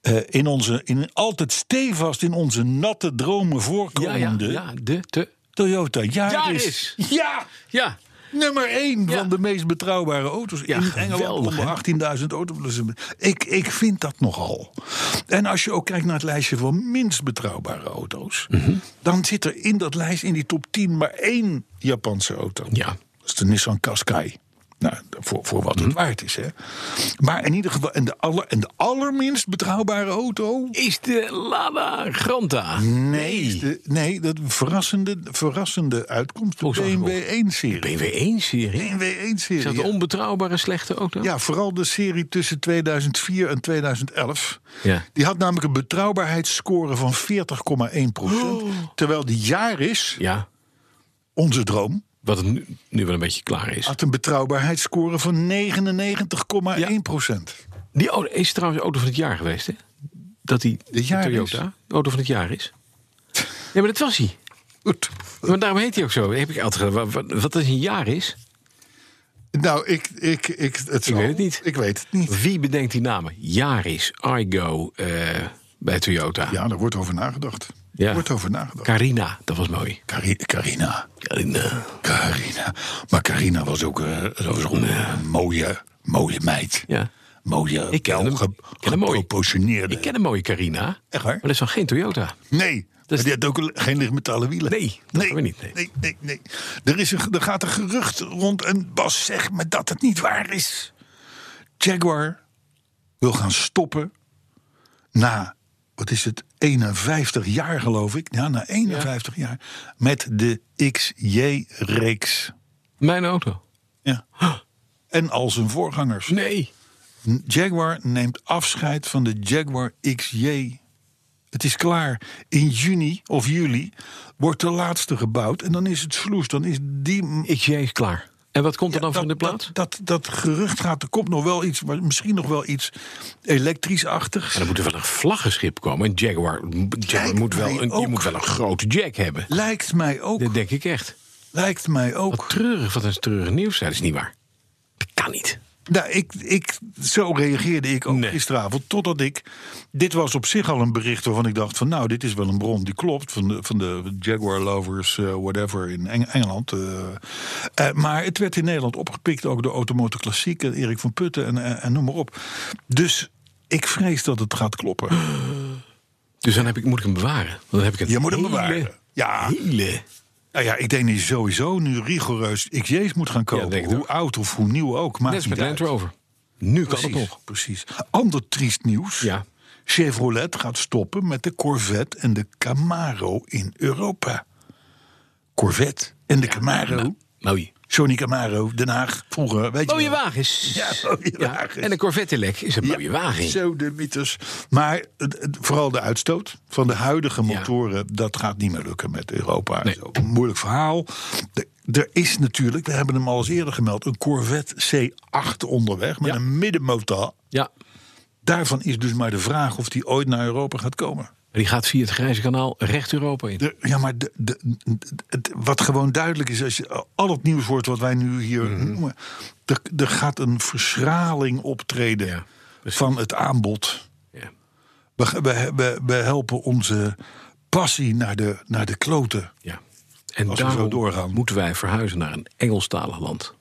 eh, in onze, in, altijd stevast in onze natte dromen Ja, ja, voorkomende ja. De, te. Toyota Yaris. Yaris. Ja, Ja. nummer één Ja. van de meest betrouwbare auto's Ja, in Engeland. geweldig, hè? Onder 18.000 auto's. Ik, ik vind dat nogal. En als je ook kijkt naar het lijstje van minst betrouwbare auto's... Mhm. dan zit er in dat lijst, in die top 10, maar één Japanse auto. Ja. Dat is de Nissan Qashqai. Nou, voor, voor wat Mhm. het waard is, hè. Maar in ieder geval, en de, aller, en de allerminst betrouwbare auto... Is de Lada Granta. Nee, is de- nee dat verrassende, verrassende uitkomst. De Volkswagen BMW 1-serie. BMW 1-serie. BMW Is 1-serie. dat een onbetrouwbare, slechte auto? Ja, vooral de serie tussen 2004 en 2011. Ja. Die had namelijk een betrouwbaarheidsscore van 40,1 Terwijl de Jaris, Oh. Ja. onze droom, Wat het nu, nu wel een beetje klaar is. had een betrouwbaarheidsscore van 99,1 Die auto is trouwens auto van het jaar geweest, hè? Dat die de jaar Toyota auto van het jaar is. Ja, maar dat was hij. Goed. Maar daarom heet hij ook zo. Heb ik altijd gedacht, wat, wat is een jaar is? Nou, ik, ik, ik, het zal- weet het niet. Ik weet het niet. Wie bedenkt die namen? Jaris, Igo eh, bij Toyota. Ja, daar wordt over nagedacht. Ja. Er wordt over nagedacht. Carina, dat was mooi. Cari- Carina. Carina. Carina. Maar Carina was ook, eh, dat was ook een mooie, mooie meid. Ja. Mooie, Ik ken wel hem. ge- Ik ken hem mooi. geproportioneerde. Ik ken een mooie Carina. Echt waar? Maar dat is dan geen Toyota. Nee, Dat is- die had ook een- geen lichtmetalen wielen. Dus- Nee, dat hebben we niet, nee. nee, nee, nee. Er, is een, er gaat een gerucht rond en Bas zegt me dat het niet waar is. Jaguar wil gaan stoppen na, wat is het, 51 jaar geloof ik. Ja, na 51 jaar met de XJ-reeks. Mijn auto. Ja. En al zijn voorgangers. Nee. Jaguar neemt afscheid van de Jaguar XJ. Het is klaar. In juni of juli wordt de laatste gebouwd. En dan is het sloes. Dan is die. XJ is klaar. En wat komt er dan van de plaats? Dat, dat, dat gerucht gaat. Er komt nog wel iets. Maar misschien nog wel iets elektrisch-achtigs. En dan moet er wel een vlaggenschip komen. Een Jaguar, Jaguar Lijkt moet wel mij een, je ook. moet wel een grote jack hebben. Lijkt mij ook. Dat denk ik echt. Lijkt mij ook. Wat treurig, wat een treurig nieuws. Dat is niet waar. Dat kan niet. Nou, ik, ik, zo reageerde ik ook Nee. gisteravond. Totdat ik. Dit was op zich al een bericht waarvan ik dacht: van nou, dit is wel een bron die klopt. Van de, van de Jaguar Lovers, eh, whatever, in Eng- Engeland. eh. Eh, maar het werd in Nederland opgepikt ook door Automotor Klassiek en Erik van Putten en, en, en noem maar op. Dus ik vrees dat het gaat kloppen. Dus dan heb ik, moet ik hem bewaren. Want Dan heb ik het Je moet hem hele- bewaren. Ja. Hele. Nou ja, ik denk dat je sowieso nu rigoureus XJ's moet gaan denk kopen. ik hoe ook. oud of hoe nieuw ook. Maakt Net als niet met Land uit. Rover. Nu kan het Precies, nog. precies. Ander triest nieuws. Ja. Chevrolet gaat stoppen met de Corvette en de Camaro in Europa. Corvette en de Camaro. Nou. Mooi. Johnny Camaro, Den Haag, vroeger. Weet Mooie je wel. wagens. Ja, mooie wagens. En een Corvette-lek is een mooie wagen. Zo de mythes. Maar het- het- vooral de uitstoot van de huidige motoren, dat gaat niet meer lukken met Europa. Nee. Zo, een moeilijk verhaal. De- er is natuurlijk, we hebben hem al eens eerder gemeld, een Corvette C8 onderweg met Ja. een middenmotor. Ja. Daarvan is dus maar de vraag of die ooit naar Europa gaat komen. Die gaat via het Grijze Kanaal recht Europa in. De- ja, maar de, de, het- wat gewoon duidelijk is, als je eh, al het nieuws hoort wat wij nu hier noemen, er, er gaat een verschraling optreden Ja, van het aanbod. Ja. We, we, we, we helpen onze passie naar de, naar de kloten. Ja. En Als we daarom zo doorgaan. moeten wij verhuizen naar een Engelstalig land.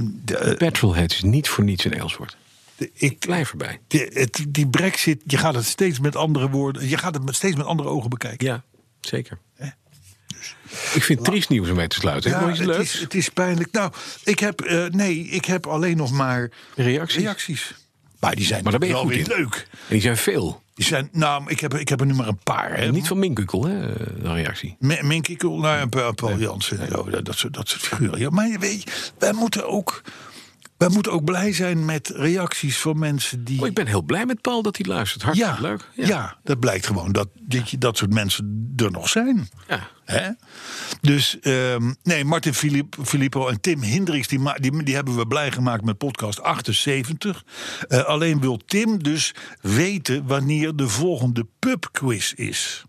De- eh, Petrolhead is niet voor niets in Engelswoord. de- ik, Blijf erbij. die, het, die brexit, je gaat het steeds met andere woorden, je gaat het met- steeds met andere ogen bekijken. Ja, zeker. Dus Ik vind het triest nieuws om mee te sluiten. Heb je nog iets Nou. het, leuks? is, het is pijnlijk. Nou, ik heb, eh, nee, ik heb alleen nog maar Reacties? reacties. Maar die zijn Maar daar ben je wel goed weer in. leuk. En die zijn veel. Die zijn, nou, ik heb, ik heb er nu maar een paar. Hè. En niet van Minkukkel, hè, eh, de reactie. M- Minky Cool, nou, en Pa- Paul Jansen. en zo, dat, dat, soort, dat soort figuren. Ja, maar je weet, wij moeten, ook, wij moeten ook blij zijn met reacties van mensen die... Oh, ik ben heel blij met Paul dat hij luistert. Hartstikke ja, leuk. Ja. dat blijkt gewoon dat, dat, je, dat soort mensen er nog zijn. Ja. Hè? Dus ehm, nee, Martin Filip, Filippo en Tim Hendricks, die, ma- die, die hebben we blij gemaakt met podcast 78. Eh, alleen wil Tim dus weten wanneer de volgende pubquiz is.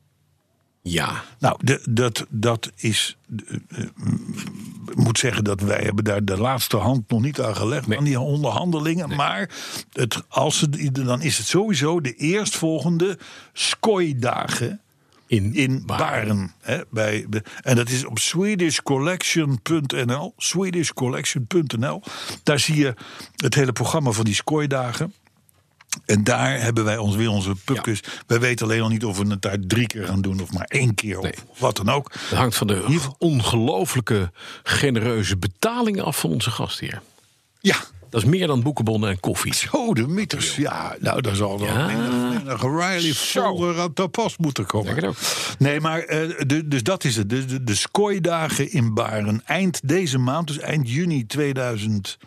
Ja. Nou, de, dat, dat is. eh, eh, ik moet zeggen dat wij hebben daar de laatste hand nog niet aan gelegd aan die onderhandelingen. Maar het, als het, dan is het sowieso de eerstvolgende Skoy-dagen In, in Baar. Baren. Hè, bij, de- en dat is op swedishcollection.nl. Swedishcollection.nl. Daar zie je het hele programma van die Skoy-dagen. En daar hebben wij ons weer onze pubquiz. Wij weten alleen nog niet of we het daar drie keer gaan doen of maar één keer Nee. of wat dan ook. Dat hangt van de Hier- ongelooflijke genereuze betaling af van onze gastheer. Ja, Dat is meer dan boekenbonnen en koffie. zo de mythes. Ja, nou, daar zal dan Ja. een een Riley Folger aan te pas moeten Denk het komen. ook. Nee, maar eh, de, dus dat is het. De, de, de Skooi-dagen in Baren. Eind deze maand, dus eind juni 2000.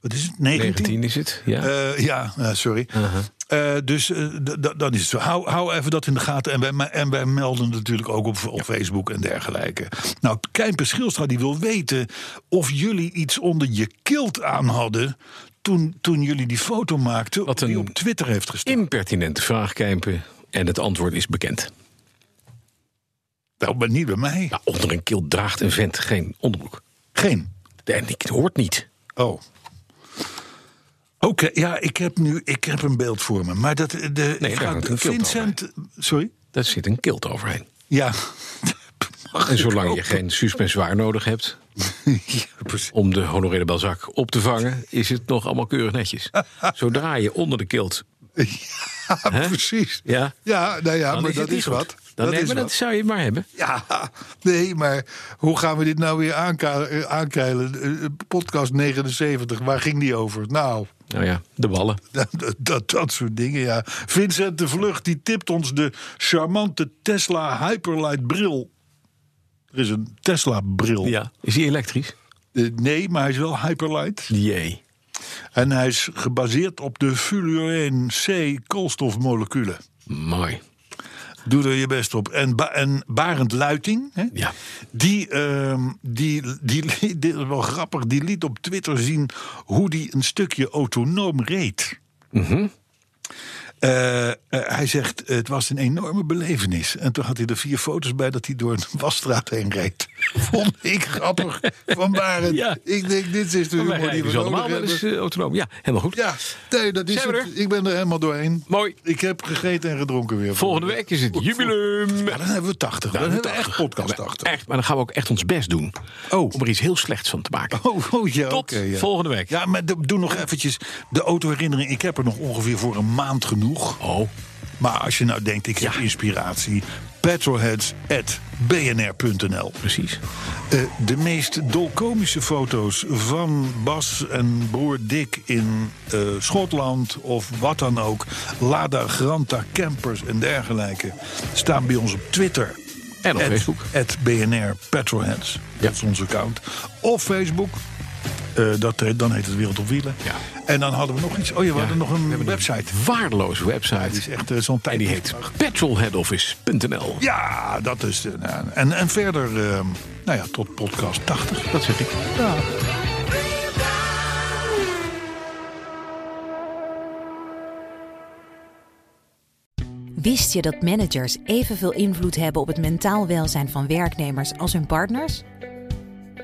Wat is het? 19? 19 is het. Ja. Uh-huh. Eh, ja, eh, sorry. Eh, dus eh, d- d- dat is het. zo. Hou, hou even dat in de gaten. En wij, me- en wij melden natuurlijk ook op, op Facebook en dergelijke. Nou, Kijmper Schilstra die wil weten of jullie iets onder je kilt aan hadden... toen, toen jullie die foto maakten Wat die een op Twitter heeft gestaan. Impertinente vraag, Kijmpen. En het antwoord is bekend. Nou, maar niet bij mij. Ja, onder een keel draagt een vent geen onderbroek. Geen. En ik- het hoort niet. Oh. Oké, ja, ik heb nu ik heb een beeld voor me. Maar dat... eh, De, daar gaat- hangt een kilt Vincent... Sorry? Daar zit een kilt overheen. Ja. <laughs> Mag En ik zolang je ook? geen suspensoir nodig hebt Ja, precies. om de honorele Balzac op te vangen, is het nog allemaal <laughs> keurig netjes. Zodra je onder de kilt. Ja, Hè? precies. Ja. ja, nou ja, maar Dan Ah, is het dat niet is goed. wat. Dan dat nee, is maar wat. dat zou je maar hebben. Ja, nee, maar hoe gaan we dit nou weer aanka- eh, aankeilen? Eh, eh, Podcast 79, waar ging die over? Nou, Nou ja, de ballen. <laughs> dat, dat, dat soort dingen, ja. Vincent de Vlucht, die tipt ons de charmante Tesla Hyperlight bril. Er is een Tesla bril. Ja. Is die elektrisch? Eh, nee, maar hij is wel Hyperlight. Jee. En hij is gebaseerd op de fullereen C koolstofmoleculen. Mooi. Doe er je best op. En, Ba- en Barend Luiting, hè? Ja. Die, ehm, die, die, li- <laughs> dit is wel grappig, die liet op Twitter zien hoe die een stukje autonoom reed. Mhm. Eh, eh, hij zegt, het was een enorme belevenis. En toen had hij er vier foto's bij dat hij door een wasstraat heen reed. <laughs> vond ik grappig van Barend. Ja. Ik denk, dit is de Wij humor die rijden we dus allemaal nodig wel eens hebben. eh, autonoom. Ja, helemaal goed. Ja, nee, dat is Zijn we het. Ik ben er helemaal doorheen. Mooi. Ik heb gegeten en gedronken weer. Volgende week is het jubileum. Ja, dan hebben we 80. Dan, hebben we echt podcast Ja, 80. Echt, maar dan gaan we ook echt ons best doen. Oh. Om er iets heel slechts van te maken. Oh, oh, ja, Tot oké, ja. volgende week. Ja, maar do- doe nog eventjes de autoherinnering. Ik heb er nog ongeveer voor een maand genoeg. Oh. Maar als je nou denkt, ik heb Ja. inspiratie. petrolheads.bnr.nl Precies. Eh, de meest dolkomische foto's van Bas en broer Dick in eh, Schotland of wat dan ook. Lada Granta campers en dergelijke staan bij ons op Twitter. En op At- Facebook. at BNR Petrolheads. Dat is ons account. Of Facebook. Eh, dat, eh, dan heet het Wereld op Wielen. Ja. En dan hadden we nog iets. Oh ja, we hadden nog een website. Waardeloze website. Die is echt eh, zo'n tijd. En die heet petrolheadoffice.nl. Ja, dat is. eh, nou, en, en verder, eh, nou ja, tot podcast 80. Dat zeg ik. Wist je dat managers evenveel invloed hebben op het mentaal welzijn van werknemers als hun partners?